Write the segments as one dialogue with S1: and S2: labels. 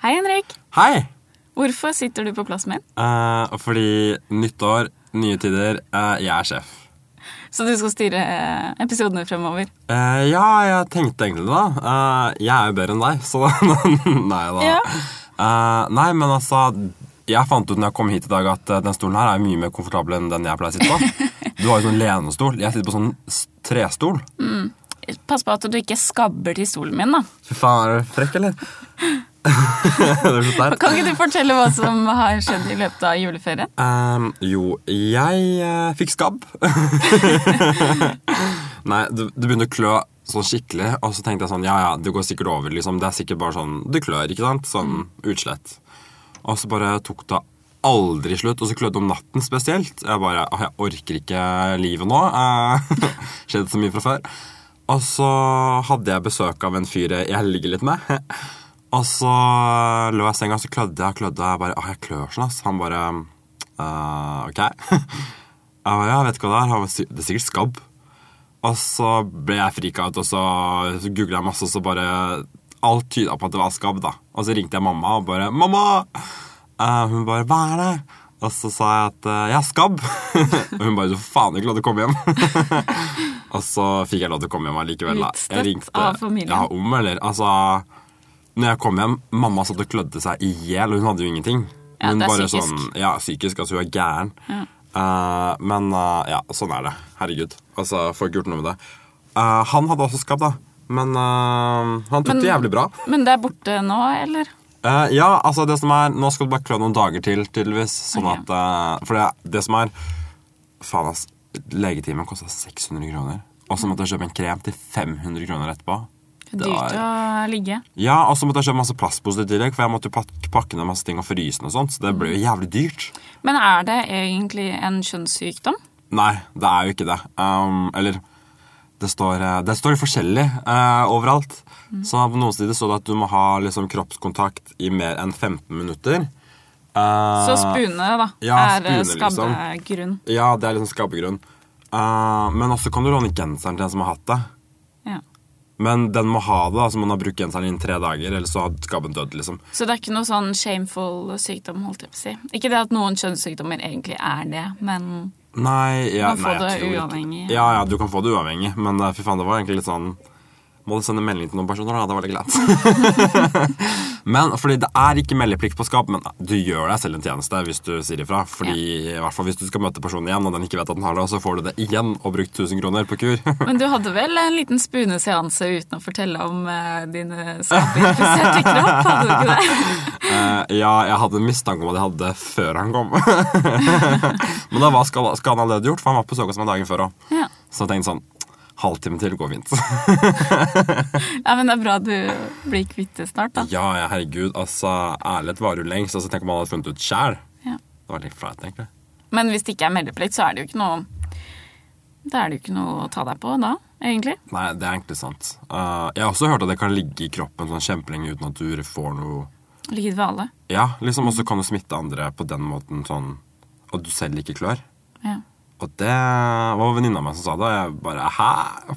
S1: Hei, Henrik.
S2: Hei!
S1: Hvorfor sitter du på plassen min?
S2: Eh, fordi nyttår, nye tider, eh, jeg er sjef.
S1: Så du skal styre eh, episodene fremover.
S2: Eh, ja, jeg tenkte egentlig det, da. Eh, jeg er jo bedre enn deg, så Nei da.
S1: Ja.
S2: Eh, nei, men altså Jeg fant ut når jeg kom hit i dag, at eh, den stolen her er mye mer komfortabel enn den jeg pleier å sitte på. Du har jo sånn lenestol. Jeg sitter på sånn s- trestol.
S1: Pass på at du ikke skabber til stolen min, da.
S2: Fy faen, er du frekk, eller? det er så teit.
S1: Kan ikke du fortelle hva som har skjedd i løpet av juleferien?
S2: Ehm, jo, jeg eh, fikk skabb. Nei, det, det begynte å klø sånn skikkelig, og så tenkte jeg sånn Ja, ja, det går sikkert over. liksom. Det er sikkert bare sånn Det klør, ikke sant? Sånn utslett. Og så bare tok det aldri slutt. Og så klødde det om natten spesielt. Jeg bare «Åh, Jeg orker ikke livet nå. Eh, Skjedd så mye fra før. Og så hadde jeg besøk av en fyr jeg ligger litt med. Og så lå jeg i senga, så klødde jeg og klødde. Jeg bare, «Åh, jeg klør sånn, ass. Han bare «Eh, OK. Jeg bare, ja, vet ikke hva det er. Han bare, «Det er sikkert skabb. Og så ble jeg frika ut, og så googla jeg masse, og så bare Alt tyda på at det var skabb, da. Og så ringte jeg mamma og bare 'Mamma!' Eh, hun bare 'Hva er det?' Og så sa jeg at eh, 'jeg har skabb'. og hun bare 'Du får faen ikke lov til å komme hjem'. og så fikk jeg lov til å komme hjem allikevel. da. Jeg
S1: Utstøtt
S2: ringte-
S1: av familien.
S2: Ja, om eller. Altså Når jeg kom hjem, mamma satt og klødde seg i hjel, og hun hadde jo ingenting.
S1: Ja,
S2: Men
S1: det er
S2: bare
S1: psykisk.
S2: Sånn, ja, psykisk. Altså, hun er gæren. Eh, men eh, ja, sånn er det. Herregud. Altså, Får ikke gjort noe med det. Eh, han hadde også skabb, da. Men eh, han tok
S1: Men-
S2: det jævlig bra.
S1: Men det er borte nå, eller?
S2: Eh, ja, altså det som er Nå skal du bare klø noen dager til, tydeligvis. Sånn
S1: Ok.
S2: at eh, For det, det som er Faen, ass. Legetimen kosta 600 kroner. Og så måtte jeg kjøpe en krem til 500 kroner etterpå. Det
S1: Dyrt å
S2: var-
S1: ligge.
S2: Ja, Og så måtte jeg kjøpe masse plastposer i tillegg, for jeg måtte jo pak- pakke ned masse ting og fryse den og sånt. Så det ble jo jævlig dyrt.
S1: Men er det egentlig en kjønnssykdom?
S2: Nei, det er jo ikke det. Um, eller det står, eh, det står forskjellig eh, overalt. Så på noen sider står det at du må ha liksom, kroppskontakt i mer enn 15 minutter. Eh,
S1: Så spune, da,
S2: ja,
S1: er eh,
S2: spune, liksom.
S1: skabbegrunn.
S2: Ja, det er liksom skabbegrunn. Eh, men også kan du låne genseren til en som har hatt det.
S1: Ja.
S2: Men den må ha det, altså man har brukt genseren innen tre dager, eller så har skabben dødd. liksom.
S1: Så det er ikke noe sånn shameful sykdom, holdt jeg på å si. Ikke det at noen kjønnssykdommer egentlig er det, men
S2: Nei, ja,
S1: Du kan få
S2: nei, jeg
S1: det
S2: tror ikke-
S1: uavhengig.
S2: Ja, ja, du kan få det uavhengig, men eh, fy faen, det var egentlig litt sånn Må du sende melding til noen personer, da? Det var litt glatt. men fordi det er ikke meldeplikt på skap, men du gjør deg selv en tjeneste hvis du sier ifra. Fordi i hvert fall hvis du skal møte personen igjen, og den ikke vet at den har det, så får du det igjen og brukt 1000 kroner på kur.
S1: Men du hadde vel en liten spuneseanse uten å fortelle om eh, din eh, skabbeinfiserte kropp? hadde du ikke det?
S2: Eh, ja, jeg hadde en mistanke om at jeg hadde det før han kom. men da var skal, skal han allerede gjort, for han var på såkast meg dagen før òg.
S1: Ja.
S2: Så jeg tenkte sånn Halvtime til går fint.
S1: Nei, men det er bra du blir kvitt det snart, da.
S2: Ja, ja, herregud. Altså, ærlighet varer jo lengst. Altså, tenk om han hadde funnet ut sjæl.
S1: Ja.
S2: Det var litt flaut, egentlig.
S1: Men hvis det ikke er meldeplikt, så er det jo ikke noe Da er det jo ikke noe å ta deg på da, egentlig.
S2: Nei, det er egentlig sant. Eh, jeg har også hørt at det kan ligge i kroppen sånn kjempelenge uten at du får noe
S1: Ligget ved alle.
S2: Ja, liksom, og så kan du smitte andre på den måten sånn at du selv ikke klør.
S1: Ja.
S2: Og det var venninna mi som sa det, og jeg bare hæ?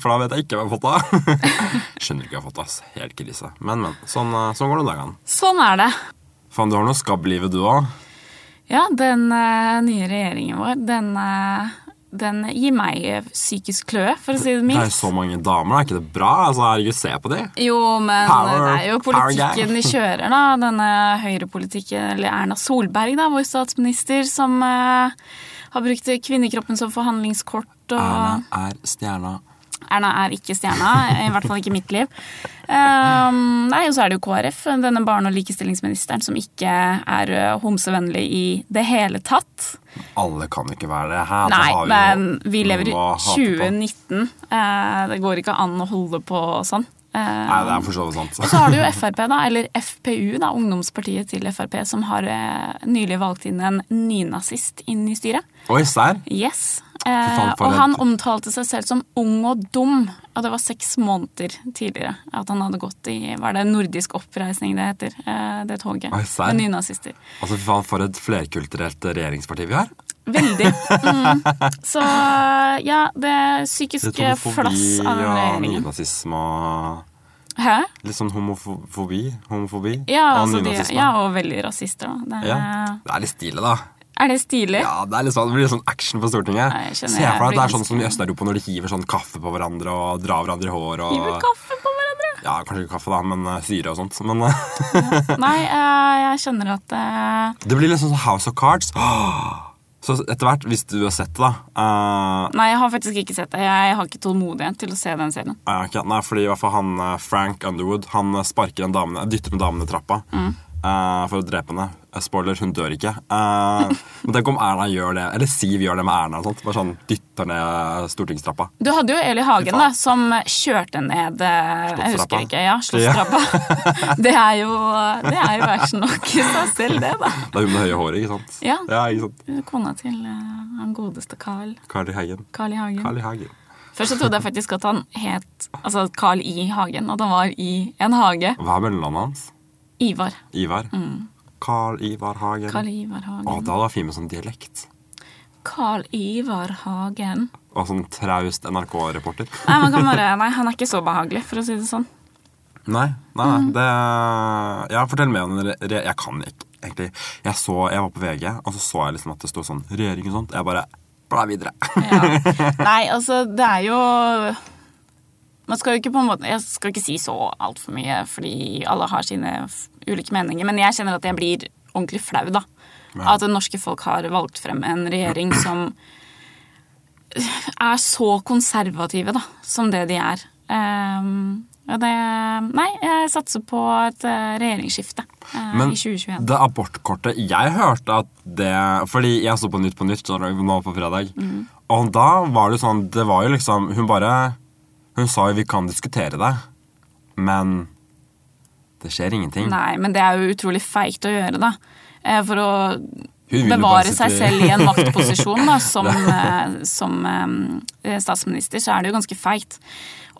S2: For da vet jeg ikke hva jeg har fått av. Skjønner ikke hva jeg har fått av. ass. Helt krise. Men, men. Sånn, eh, sånn går det om dagene.
S1: Sånn er det.
S2: Faen, du har noe skabb i livet, du òg.
S1: Ja, den eh, nye regjeringen vår, den, eh, den gir meg eh, psykisk kløe, for å si det
S2: Det er
S1: mildt.
S2: jo så mange damer, er ikke det bra? Altså, herregud, se på de.
S1: Jo, men
S2: Power-
S1: det er jo
S2: power
S1: politikken
S2: gang.
S1: de kjører, da. Denne høyrepolitikken, eller Erna Solberg, da, vår statsminister, som eh, har brukt kvinnekroppen som forhandlingskort. Og Erna.
S2: Erna er stjerna.
S1: er ikke stjerna, i hvert fall ikke i mitt liv. Ehm, nei, og så er det jo KrF, denne barne- og likestillingsministeren, som ikke er eh, homsevennlig i det hele tatt.
S2: Alle kan ikke være det. Her, det
S1: Nei,
S2: har jo
S1: men vi lever i
S2: noe å hate på.
S1: 2019. Eh, det går ikke an å holde på sånn. Eh,
S2: Nei, det er for så vidt
S1: Så
S2: sant.
S1: har du jo Frp, da, eller FPU, da, ungdomspartiet til Frp, som har eh, nylig valgt inn en nynazist inn i styret.
S2: Oi, serr?
S1: Yes.
S2: Fy
S1: Eh,
S2: faen, for
S1: og
S2: en-
S1: han omtalte seg selv som ung og dum, og det var seks måneder tidligere at han hadde gått i Var det nordisk oppreisning det heter, eh, det toget?
S2: Oi, serr?
S1: Med nynazister.
S2: Altså, fy faen, for et flerkulturelt regjeringsparti vi har.
S1: Veldig. Mm. Så ja, det
S2: Det
S1: psykiske
S2: er homofobi
S1: flass av den
S2: og
S1: regjeringen.
S2: nynazisme og
S1: Hæ?
S2: Litt sånn homofobi. homofobi
S1: Ja,
S2: og
S1: altså de,
S2: nynazisme.
S1: ja, eh, og veldig rasister, da. Det er,
S2: Ja. Det er litt stilig, da.
S1: er det stilig?
S2: Ja, Det er litt sånn, det blir litt sånn action på Stortinget.
S1: Nei, jeg skjønner,
S2: Se
S1: jeg
S2: for deg at det er
S1: blir
S2: sånn som i Øst-Europa når de hiver sånn kaffe på hverandre og drar hverandre i hår. Og,
S1: Hiver kaffe på hverandre?
S2: Ja, Kanskje ikke kaffe, da, men eh, syre og sånt. Men eh,
S1: Nei, eh, jeg skjønner at eh,
S2: det blir liksom sånn House of Cards. Så etter hvert, hvis du har sett det, da eh,
S1: Nei, jeg har faktisk ikke sett det. Jeg har ikke tålmodighet til å se den serien.
S2: Ja, ok. Nei, fordi i hvert fall han eh, Frank Underwood Han eh, sparker en dame, ned- dytter med damen i trappa
S1: Mm.
S2: eh, For å drepe henne Eh, Spoiler, hun dør ikke Eh, Men tenk om Erna gjør det Eller Siv gjør det med Erna og sånt. Bare sånn, dytter ned eh, stortingstrappa
S1: Du hadde jo Eli Hagen,
S2: Fy faen.
S1: da, som kjørte ned eh, Jeg
S2: Slottstrappa.
S1: husker ikke. Ja, Slottstrappa. det er jo Det er jo action nok i seg selv, det, da.
S2: Det er hun med det høye håret, ikke sant?
S1: Ja.
S2: ikke sant?
S1: Kona til eh, han godeste Carl.
S2: Carl I. Hagen
S1: Carl I. Hagen.
S2: Carl I. Hagen
S1: Først så trodde jeg faktisk at han het altså Carl I. Hagen, at han var i en hage.
S2: Hva er mellomlandet hans?
S1: Ivar.
S2: Ivar Carl Ivar Hagen
S1: Mm. Carl Ivar
S2: Å,
S1: Hagen.
S2: det hadde vært fint med sånn dialekt
S1: Carl Ivar Hagen.
S2: Og sånn traust NRK-reporter
S1: Nei, man kan bare, nei, han er ikke så behagelig, for å si det sånn.
S2: Nei, nei, nei,
S1: Mm.
S2: det Ja, fortell mer om den re- re- Jeg kan ikke, egentlig. Jeg, så, jeg var på VG, og så så jeg liksom at det stod sånn regjering og sånt. Jeg bare bla videre.
S1: Ja. Nei, altså, det er jo Man skal jo ikke på en måte Jeg skal ikke si så altfor mye, fordi alle har sine f- ulike meninger, men jeg kjenner at jeg blir ordentlig flau, da.
S2: Ja.
S1: At det norske folk har valgt frem en regjering som er så konservative, da, som det de er. Ehm, og det Nei, jeg satser på et eh, regjeringsskifte eh,
S2: Men
S1: i 2021.
S2: det abortkortet Jeg hørte at det Fordi jeg så på Nytt på Nytt skjønner du, nå på fredag.
S1: Mm.
S2: Og da var det jo sånn Det var jo liksom Hun bare Hun sa jo 'vi kan diskutere det', men det skjer ingenting.
S1: Nei, men det er jo utrolig feigt å gjøre, da. Eh, For å
S2: Hun vil jo bare
S1: bevare
S2: sitte
S1: seg
S2: i-
S1: selv i en maktposisjon da, som, eh, som eh, statsminister, så er det jo ganske feigt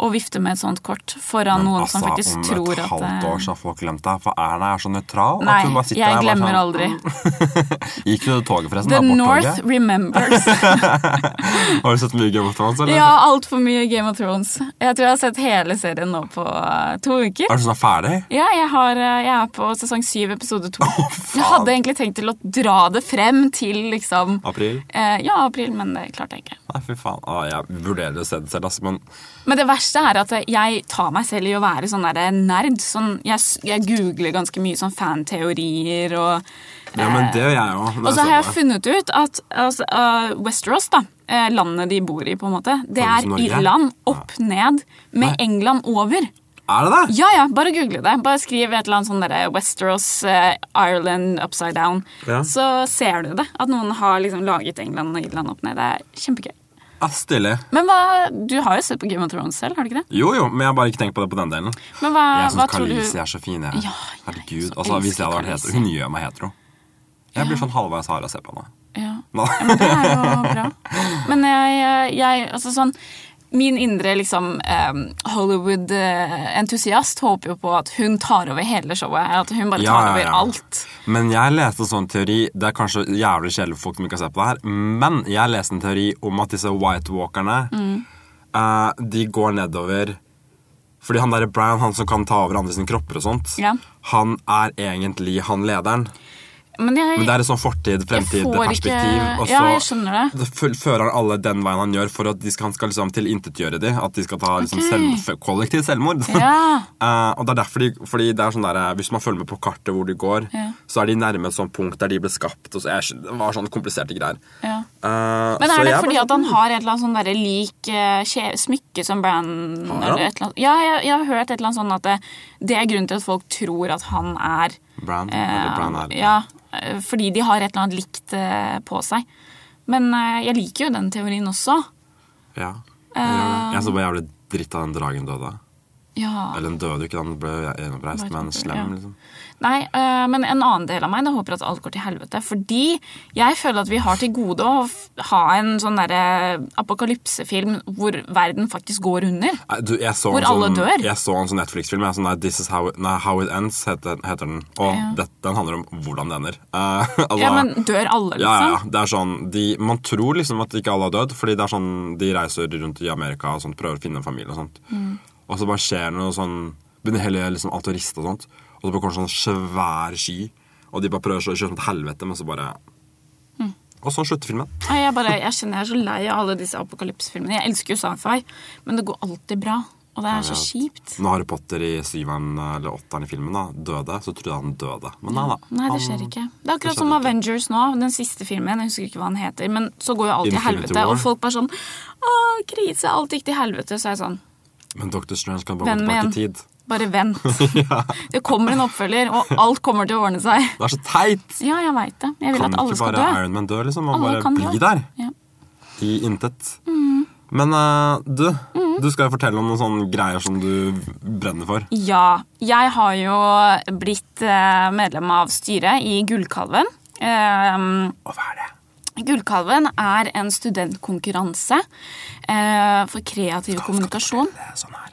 S1: å vifte med et sånt kort foran
S2: Men altså,
S1: noen som faktisk
S2: Om
S1: tror
S2: et
S1: at
S2: halvt
S1: eh,
S2: år så har folk glemt det. For Erna er så nøytral. at
S1: Nei,
S2: hun bare sitter der
S1: jeg
S2: og bare
S1: glemmer
S2: sånn-
S1: aldri.
S2: Gikk du toget forresten?
S1: The
S2: Aborttoget?
S1: North remembers.
S2: Har du sett mye Game of Thrones, eller?
S1: Ja, altfor mye Game of Thrones. Jeg tror jeg har sett hele serien nå på eh, to uker.
S2: Er du sånn ferdig?
S1: Ja, jeg, har, eh, jeg er på sesong syv, episode to. Jeg
S2: faen.
S1: hadde egentlig tenkt til å dra det frem til liksom
S2: April?
S1: eh, Ja, april, men det klarte jeg ikke.
S2: Nei, fy faen. Ah, jeg vurderer å se det selv, ass, men
S1: Men det verste er at jeg tar meg selv i å være sånn der nerd. Sånn, jeg, s- jeg googler ganske mye sånn fanteorier og eh,
S2: Ja, men det gjør jeg òg.
S1: Og så har jeg funnet ut at altså, øh, Westeros, da, eh, landet de bor i, på en måte, det
S2: Samme
S1: er
S2: som Norge.
S1: Irland opp ned med England over.
S2: Er det det?
S1: Ja, ja, bare google det. Bare skriv et eller annet sånn derre Westeros, eh, Ireland upside down.
S2: Ja.
S1: Så ser du det. At noen har liksom laget England og Irland opp ned. Det er kjempegøy.
S2: Ja, Stilig.
S1: Men hva, du har jo sett på Game of Thrones selv, har du ikke det?
S2: Jo, jo, men jeg har bare ikke tenkt på det på den delen.
S1: Men hva,
S2: Jeg
S1: Ah, hva
S2: syns
S1: tror du
S2: Kalise er sånn så fin, jeg.
S1: Ja, jeg
S2: Herregud.
S1: så
S2: Altså, hvis jeg hadde vært
S1: elsker
S2: hetero Hun gjør meg hetero. Jeg blir sånn halvveis hard av å se på henne.
S1: Ja.
S2: Nå.
S1: Ja, men det er jo bra. Men jeg, jeg altså sånn Min indre liksom, eh, Hollywood-entusiast håper jo på at hun tar over hele showet. At hun bare
S2: Ja,
S1: tar
S2: ja,
S1: over
S2: ja.
S1: alt.
S2: Men jeg leste en sånn teori Det er kanskje jævlig kjedelig for folk som ikke har sett på det her, men jeg leste en teori om at disse White Walkerne eh, De går nedover Fordi han derre Brown, han som kan ta over andre sine kropper og sånt,
S1: Ja.
S2: han er egentlig han lederen.
S1: Men jeg,
S2: Men det er et sånn fortid-fremtid-perspektiv.
S1: ikke-
S2: Og så
S1: Ja, jeg skjønner det.
S2: f- fører han alle den veien han gjør, for at de skal, han skal liksom tilintetgjøre de At de skal ta liksom
S1: Ok.
S2: selv, kollektiv selvmord.
S1: Ja.
S2: Eh, og det er derfor de, fordi det er sånn der, eh, Hvis man følger med på kartet hvor de går,
S1: Ja.
S2: så er de nærme et sånt punkt der de ble skapt. Og så jeg, skjønner- det var sånne kompliserte greier.
S1: Ja.
S2: Eh,
S1: Men
S2: så
S1: er det
S2: jeg
S1: fordi
S2: bare-
S1: at han har et eller annet sånn derre lik eh, skje- smykke som Brann
S2: Har han?
S1: eller et eller annet? Ja, jeg, jeg har hørt et eller annet sånn at det, det er grunnen til at folk tror at han er
S2: Brown, eller
S1: Eh,
S2: Brown er,
S1: ja, eh, fordi de har et eller annet likt eh, på seg. Men eh, jeg liker jo den teorien også.
S2: ja. Jeg gjør det. Jeg så bare jævlig dritt av den dragen døde.
S1: Ja.
S2: Eller den døde jo ikke, den ble gjenoppreist, men slem,
S1: Ja.
S2: liksom.
S1: Nei, eh, men en annen del av meg da håper at alt går til helvete. Fordi jeg føler at vi har til gode å f- ha en sånn derre apokalypsefilm hvor verden faktisk går under.
S2: Nei, Du, jeg så
S1: Hvor
S2: en sånn,
S1: alle dør.
S2: Jeg så en sånn Netflix-film. Jeg sånn, nei, This is how it, nei, how it Ends heter, heter den. Og
S1: Ja.
S2: det, den handler om hvordan det ender. Eh, altså,
S1: Ja, men dør alle,
S2: ja, ja, ja.
S1: liksom?
S2: Det er sånn, de, man tror liksom at ikke alle har dødd, fordi det er
S1: Mm.
S2: sånn, de reiser rundt i Amerika og sånt, prøver å finne en familie og sånt. Og så bare skjer noe sånn begynner hele liksom, alt å riste og sånt. Og så bare kommer det sånn svær sky, og de bare prøver så å kjøre som et helvete, men så bare
S1: Mm.
S2: Og sånn slutter filmen.
S1: Nei, Jeg, bare, jeg kjenner jeg er så lei av alle disse apokalypsefilmene. Jeg elsker jo sci-fi, men det går alltid bra. Og det er så kjipt.
S2: Når Harry Potter i syveren eller åtteren i filmen da, døde, så trodde jeg han døde. Men nei da.
S1: Mm. Nei, det
S2: han-
S1: skjer ikke. Det er akkurat
S2: skjer
S1: som
S2: ikke.
S1: Avengers nå, den siste filmen. Jeg husker ikke hva den heter, men så går jo alt til
S2: Infinity
S1: helvete.
S2: War.
S1: Og folk bare sånn Å, krise, alt gikk til helvete. Så er jeg sånn
S2: Men Dr. Strange kan bare gå
S1: Vennen
S2: tilbake i
S1: min.
S2: tid.
S1: Bare vent. Det kommer en oppfølger, og alt kommer til å ordne seg.
S2: Det er så teit!
S1: Ja, jeg veit det. Jeg vil
S2: Kan
S1: at alle
S2: ikke
S1: skal
S2: bare
S1: dø.
S2: Iron Man dø, liksom? Han
S1: Alle
S2: bare
S1: kan
S2: bli
S1: dø. Mm.
S2: der.
S1: Ja.
S2: I intet. Men eh, du, du skal jo fortelle om noen sånne greier som du brenner for.
S1: Mm. Ja. Jeg har jo blitt eh, medlem av styret i Gullkalven. Eh,
S2: Og hva er det?
S1: Gullkalven er en studentkonkurranse eh, for kreativ kommunikasjon.
S2: Det er sånn her.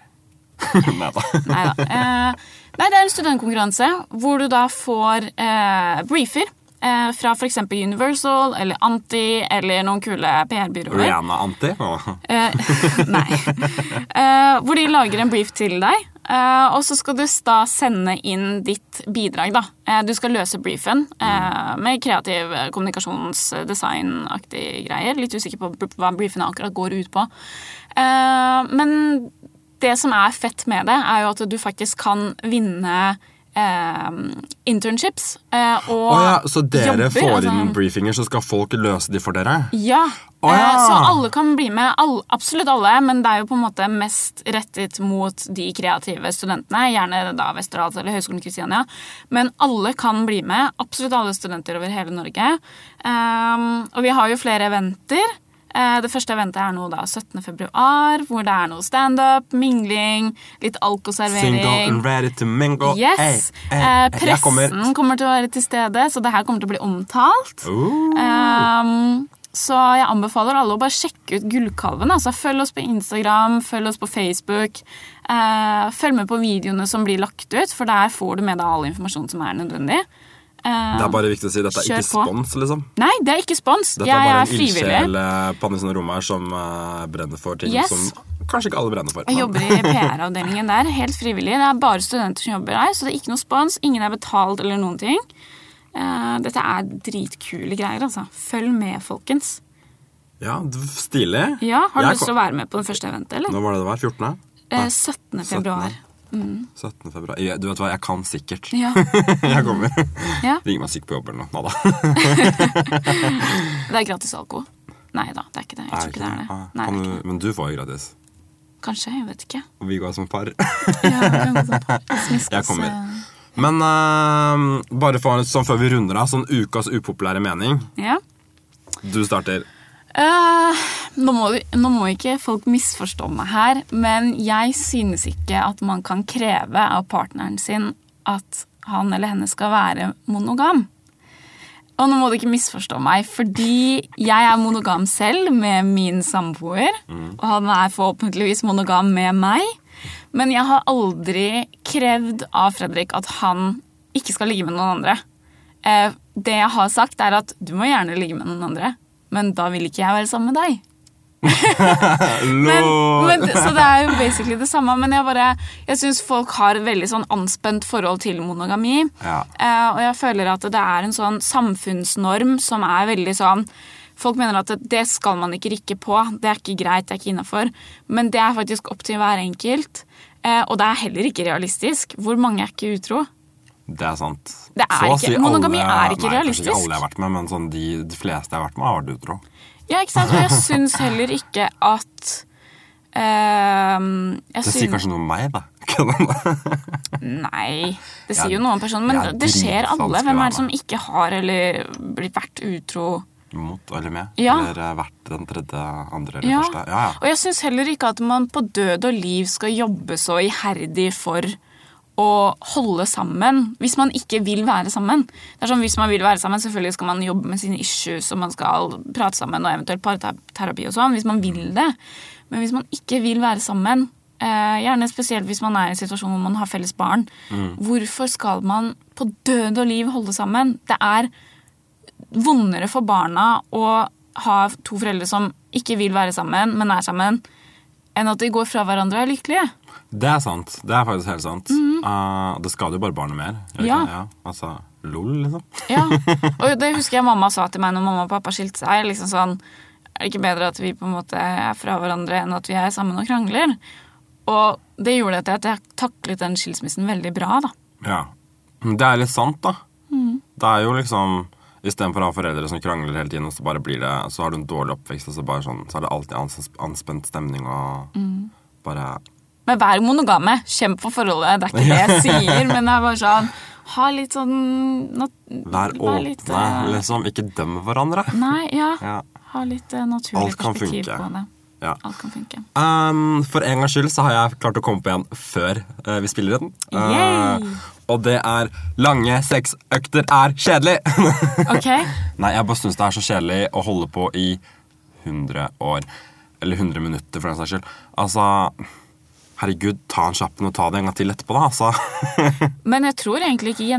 S2: Nei da.
S1: Neida. Eh, nei, det er en studentkonkurranse hvor du da får eh, briefer eh, fra f.eks. Universal eller Anti eller noen kule PR-byråer.
S2: Rihanna-anti. og-
S1: Eh, nei. Eh, hvor de lager en brief til deg, eh, og så skal du da sende inn ditt bidrag. da. Eh, du skal løse briefen eh, med kreativ eh, kommunikasjonsdesignaktige greier. Litt usikker på br- hva briefene akkurat går ut på. Eh, men det som er fett med det, er jo at du faktisk kan vinne eh, internships eh, og
S2: Å ja, så dere
S1: jobber,
S2: får
S1: altså-
S2: inn briefinger, så skal folk løse de for dere?
S1: ja.
S2: Å, ja.
S1: eh, Så alle kan bli med. All, absolutt alle, men det er jo på en måte mest rettet mot de kreative studentene. Gjerne da Westerdals eller Høgskolen Kristiania. Men alle kan bli med. Absolutt alle studenter over hele Norge. Ehm, og vi har jo flere eventer. Eh, Det første eventet er nå da 17. februar, hvor det er noe standup, mingling, litt alkoservering.
S2: Single and ready to mingle.
S1: Yes!
S2: Ey, ey,
S1: eh,
S2: jeg kommer.
S1: pressen kommer til å være til stede, så det her kommer til å bli omtalt.
S2: Oh,
S1: Ehm, så jeg anbefaler alle å bare sjekke ut Gullkalven. Altså, følg oss på Instagram, følg oss på Facebook. Eh, følg med på videoene som blir lagt ut, for der får du med deg all informasjon som er nødvendig. Eh,
S2: det er bare viktig å si dette er
S1: Kjør
S2: ikke
S1: på.
S2: spons, liksom.
S1: Nei, det er ikke spons.
S2: Dette
S1: jeg
S2: er bare
S1: er
S2: en
S1: frivillig.
S2: ildsjel eh, på andre siden av rommet her som eh, brenner for ting
S1: Yes.
S2: som kanskje ikke alle brenner for.
S1: Jeg
S2: men-
S1: jobber i PR-avdelingen der, helt frivillig. Det er bare studenter som jobber der, så det er ikke noe spons. Ingen er betalt eller noen ting. Eh, dette er dritkule greier, altså. Følg med, folkens.
S2: Ja, d- Stilig.
S1: Ja, Har du
S2: Jeg
S1: lyst til å
S2: kom-
S1: være med på det første eventet, eller?
S2: Når var det det var? 14.?
S1: Eh, 17. februar.
S2: 17. februar. Jeg- Du vet hva, jeg kan sikkert.
S1: Ja.
S2: Jeg kommer.
S1: ja.
S2: Ringer meg syk på jobb eller noe. Neida.
S1: Det er gratis alko. Nei da, det er ikke det. Jeg tror ikke det er det. Nei, det
S2: Ah, Kan
S1: er
S2: du,
S1: ikke det.
S2: men du får jo gratis.
S1: Kanskje, jeg vet ikke.
S2: Og vi går som par.
S1: Ja, vi kan gå sånn på smisk,
S2: Jeg kommer.
S1: så-
S2: Men eh, bare for, sånn før vi runder av, sånn ukas upopulære mening.
S1: Ja.
S2: Du starter.
S1: Eh, nå, må, vi- nå må ikke folk misforstå meg her, men jeg synes ikke at man kan kreve av partneren sin at han eller henne skal være monogam. Og nå må du ikke misforstå meg, fordi jeg er monogam selv med min samboer. Og han er forhåpentligvis monogam med meg. Men jeg har aldri krevd av Fredrik at han ikke skal ligge med noen andre. Eh, Det jeg har sagt, er at du må gjerne ligge med noen andre, men da vil ikke jeg være sammen med deg. Men,
S2: Lol.
S1: men, så det er jo basically det samme, men jeg, bare- jeg syns folk har et veldig sånn anspent forhold til monogami.
S2: Ja.
S1: Eh, og jeg føler at det er en sånn samfunnsnorm som er veldig sånn Folk mener at det- det skal man ikke rikke på, det er ikke greit, det er ikke innafor. Men det er faktisk opp til hver enkelt. Eh, og det er heller ikke realistisk. Hvor mange er ikke utro?
S2: Det er sant.
S1: Det er
S2: Så å
S1: ikke- monogami er ikke
S2: nei,
S1: realistisk.
S2: Kanskje ikke alle jeg har vært med, men sånn de, de fleste jeg har vært med, har vært utro.
S1: Ja, ikke sant? Og jeg syns heller ikke at ehm, jeg
S2: Det sier
S1: syns-
S2: kanskje noe om meg, da. Kødda nå.
S1: Nei, det
S2: Jeg
S1: sier
S2: er-
S1: jo noen personer, men
S2: jeg er
S1: det skjer alle. Hvem
S2: dritvanskelig å
S1: er
S2: være
S1: det som ikke har eller blir vært utro?
S2: Mot eller med.
S1: Ja.
S2: Eller eh, vært den tredje, andre eller
S1: Ja.
S2: første. Ja, ja.
S1: Og jeg syns heller ikke at man på død og liv skal jobbe så iherdig for å holde sammen hvis man ikke vil være sammen. Det er sånn, Hvis man vil være sammen, selvfølgelig skal man jobbe med sine issues og man skal prate sammen og eventuelt parterapi og sånn, hvis man vil det. Men hvis man ikke vil være sammen, eh, gjerne spesielt hvis man er i en situasjon hvor man har felles barn,
S2: Mm.
S1: hvorfor skal man på død og liv holde sammen? Det er vondere for barna å ha to foreldre som ikke vil være sammen, men er sammen, enn at de går fra hverandre og er lykkelige.
S2: Det er sant. Det er faktisk helt sant. Eh, det skader jo bare barnet mer. gjør det
S1: Mhm. Ja.
S2: ikke det? ja. Altså lol, liksom.
S1: Ja, og det husker jeg mamma sa til meg når mamma og pappa skilte seg. liksom sånn, Er det ikke bedre at vi på en måte er fra hverandre enn at vi er sammen og krangler? Og det gjorde at jeg taklet den skilsmissen veldig bra. da.
S2: Ja. Men det er litt sant, da.
S1: Mhm.
S2: Det er jo liksom Istedenfor å ha foreldre som krangler hele tiden, og så bare blir det Så har du en dårlig oppvekst, og så, bare sånn, så er det alltid ans- anspent stemning og
S1: Mhm.
S2: bare
S1: Men vær monogame. Kjemp for forholdet. Det er ikke det jeg sier, men det er bare sånn Ha litt sånn nat-
S2: Vær
S1: vær
S2: åpne,
S1: litt, eh,
S2: liksom. Ikke døm hverandre.
S1: Nei, ja.
S2: Ja.
S1: Ha litt eh, naturlig
S2: Alt kan
S1: perspektiv
S2: funke.
S1: på det.
S2: Ja.
S1: Alt kan funke.
S2: Um, for en gangs skyld så har jeg klart å komme på en før eh, vi spiller den. Eh,
S1: Yay!
S2: og det er 'Lange sexøkter er kjedelig'.
S1: Ok?
S2: Nei, jeg bare syns det er så kjedelig å holde på i 100 år. Eller 100 minutter, for den saks skyld. Altså Herregud, ta en kjapp en og ta det en gang til etterpå, da. altså.
S1: Men jeg tror egentlig ikke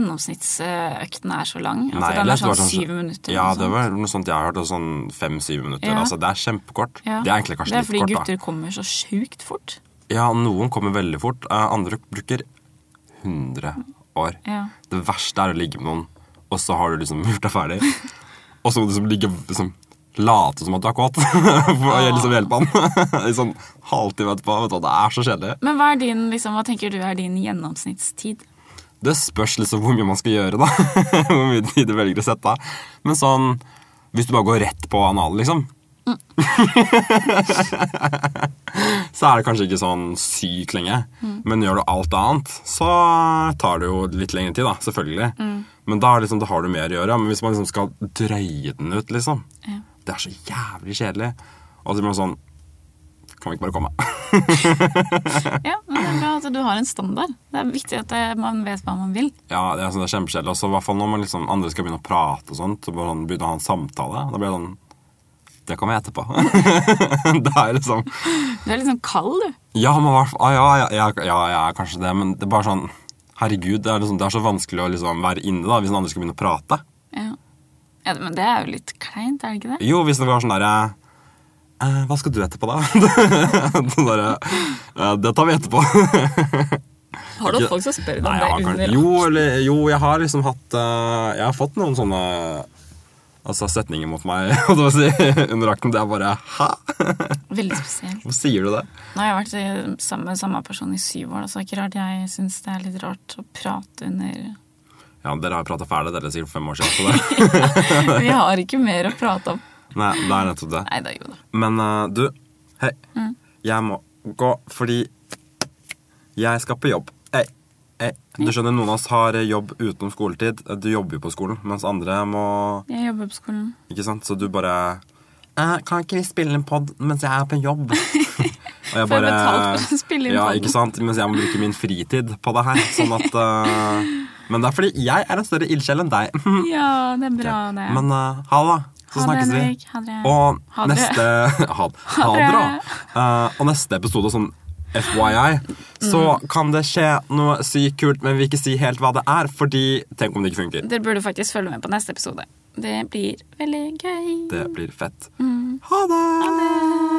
S1: gjennomsnittsøkten er så lang. Altså,
S2: Nei, jeg
S1: den er
S2: leste
S1: sånn
S2: bare sånn-
S1: syv minutter.
S2: Ja,
S1: eller
S2: det
S1: sånt.
S2: var noe sånt jeg har hørt. og Sånn Fem-syv minutter.
S1: Ja.
S2: altså Det er kjempekort.
S1: Ja.
S2: Det er egentlig kanskje
S1: Det er fordi
S2: litt kort,
S1: gutter kommer så sjukt fort.
S2: da. Ja, noen kommer veldig fort. eh, Andre bruker 100 år.
S1: Ja.
S2: Det verste er å ligge med noen, og så har du liksom gjort deg ferdig. Og så må du liksom ligge liksom, late som at du er kåt, for å liksom hjelpe han. I sånn halvtime etterpå. Vet du, hva, det er så kjedelig.
S1: Men hva, er din, liksom, hva tenker du er din gjennomsnittstid?
S2: Det spørs liksom hvor mye man skal gjøre, da. Hvor mye tid du velger å sette av. Men sånn Hvis du bare går rett på analen, liksom. så er det kanskje ikke sånn sykt lenge. Men gjør du alt annet, så tar det jo litt lengre tid, da. Selvfølgelig. Men da, er det liksom, da har du mer å gjøre. Men hvis man liksom skal drøye den ut, liksom
S1: Ja.
S2: Det er så jævlig kjedelig. Og så blir man sånn Kan vi ikke bare komme?
S1: Ja, men det er bra at du har en standard. Det er viktig at eh, man vet hva man vil.
S2: Ja, det er, sånn, det er kjempekjedelig. Og så i hvert fall når man liksom, andre skal begynne å prate og sånt, så bare sånn, begynne å ha en samtale. Da blir det sånn Det kommer jeg etterpå. det er liksom
S1: Du er litt sånn kald, du.
S2: Ja, men hvert fall ja, ja, ja, ja, ja, kanskje det, men det er bare sånn Herregud, det er, liksom, det er så vanskelig å liksom være inne da, hvis den andre skal begynne å prate.
S1: Ja. Ja, men det er jo litt kleint, er det ikke det?
S2: Jo, hvis det var sånn derre eh, Hva skal du etterpå, da? Den derre eh, Det tar vi etterpå.
S1: Har du
S2: Ikke-
S1: hatt folk som spør deg
S2: Nei, jeg
S1: om
S2: har
S1: det
S2: kanskje,
S1: under?
S2: jo, eller, jo, jeg har liksom hatt eh, Jeg har fått noen sånne Altså setninger mot meg holdt jeg på å si, under akten. Det er bare Hæ?
S1: Veldig spesielt.
S2: Hvorfor sier du det?
S1: Nå har jeg vært eh, sammen med samme person i syv år, da, så det er ikke rart jeg syns det er litt rart å prate under
S2: Ja, Dere har prata ferdig dere er sikkert for fem år siden. Så det.
S1: Vi har ikke mer å prate om.
S2: Nei, det er nettopp det.
S1: Nei da, jo da.
S2: Men eh, du, hei.
S1: Mm.
S2: Jeg må gå fordi jeg skal på jobb. Hei. Hei. Du skjønner, Noen av oss har eh, jobb utenom skoletid. Du jobber jo på skolen, mens andre må
S1: Jeg jobber på skolen.
S2: Ikke sant? Så du bare eh, Kan ikke vi spille en pod mens jeg er på jobb? Og jeg
S1: Får jeg betalt for å spille inn
S2: ja,
S1: podden?
S2: ikke sant? Mens jeg må bruke min fritid på det her. Sånn at eh, Men det er fordi jeg er en større ildsjel enn deg.
S1: Ja, det er bra, det.
S2: Mm. Men eh, ha det, da. Så
S1: Ha det,
S2: snakkes vi.
S1: Henrik. Ha det.
S2: Og
S1: Ha det.
S2: neste Ha, ha
S1: Ha
S2: det, da.
S1: det.
S2: Eh, og neste episode, sånn FYI, så
S1: Mm.
S2: kan det skje noe sykt kult, men vi vil ikke si helt hva det er, fordi Tenk om det ikke funker.
S1: Dere burde faktisk følge med på neste episode. Det blir veldig gøy. Mm.
S2: Det blir fett. Ha det!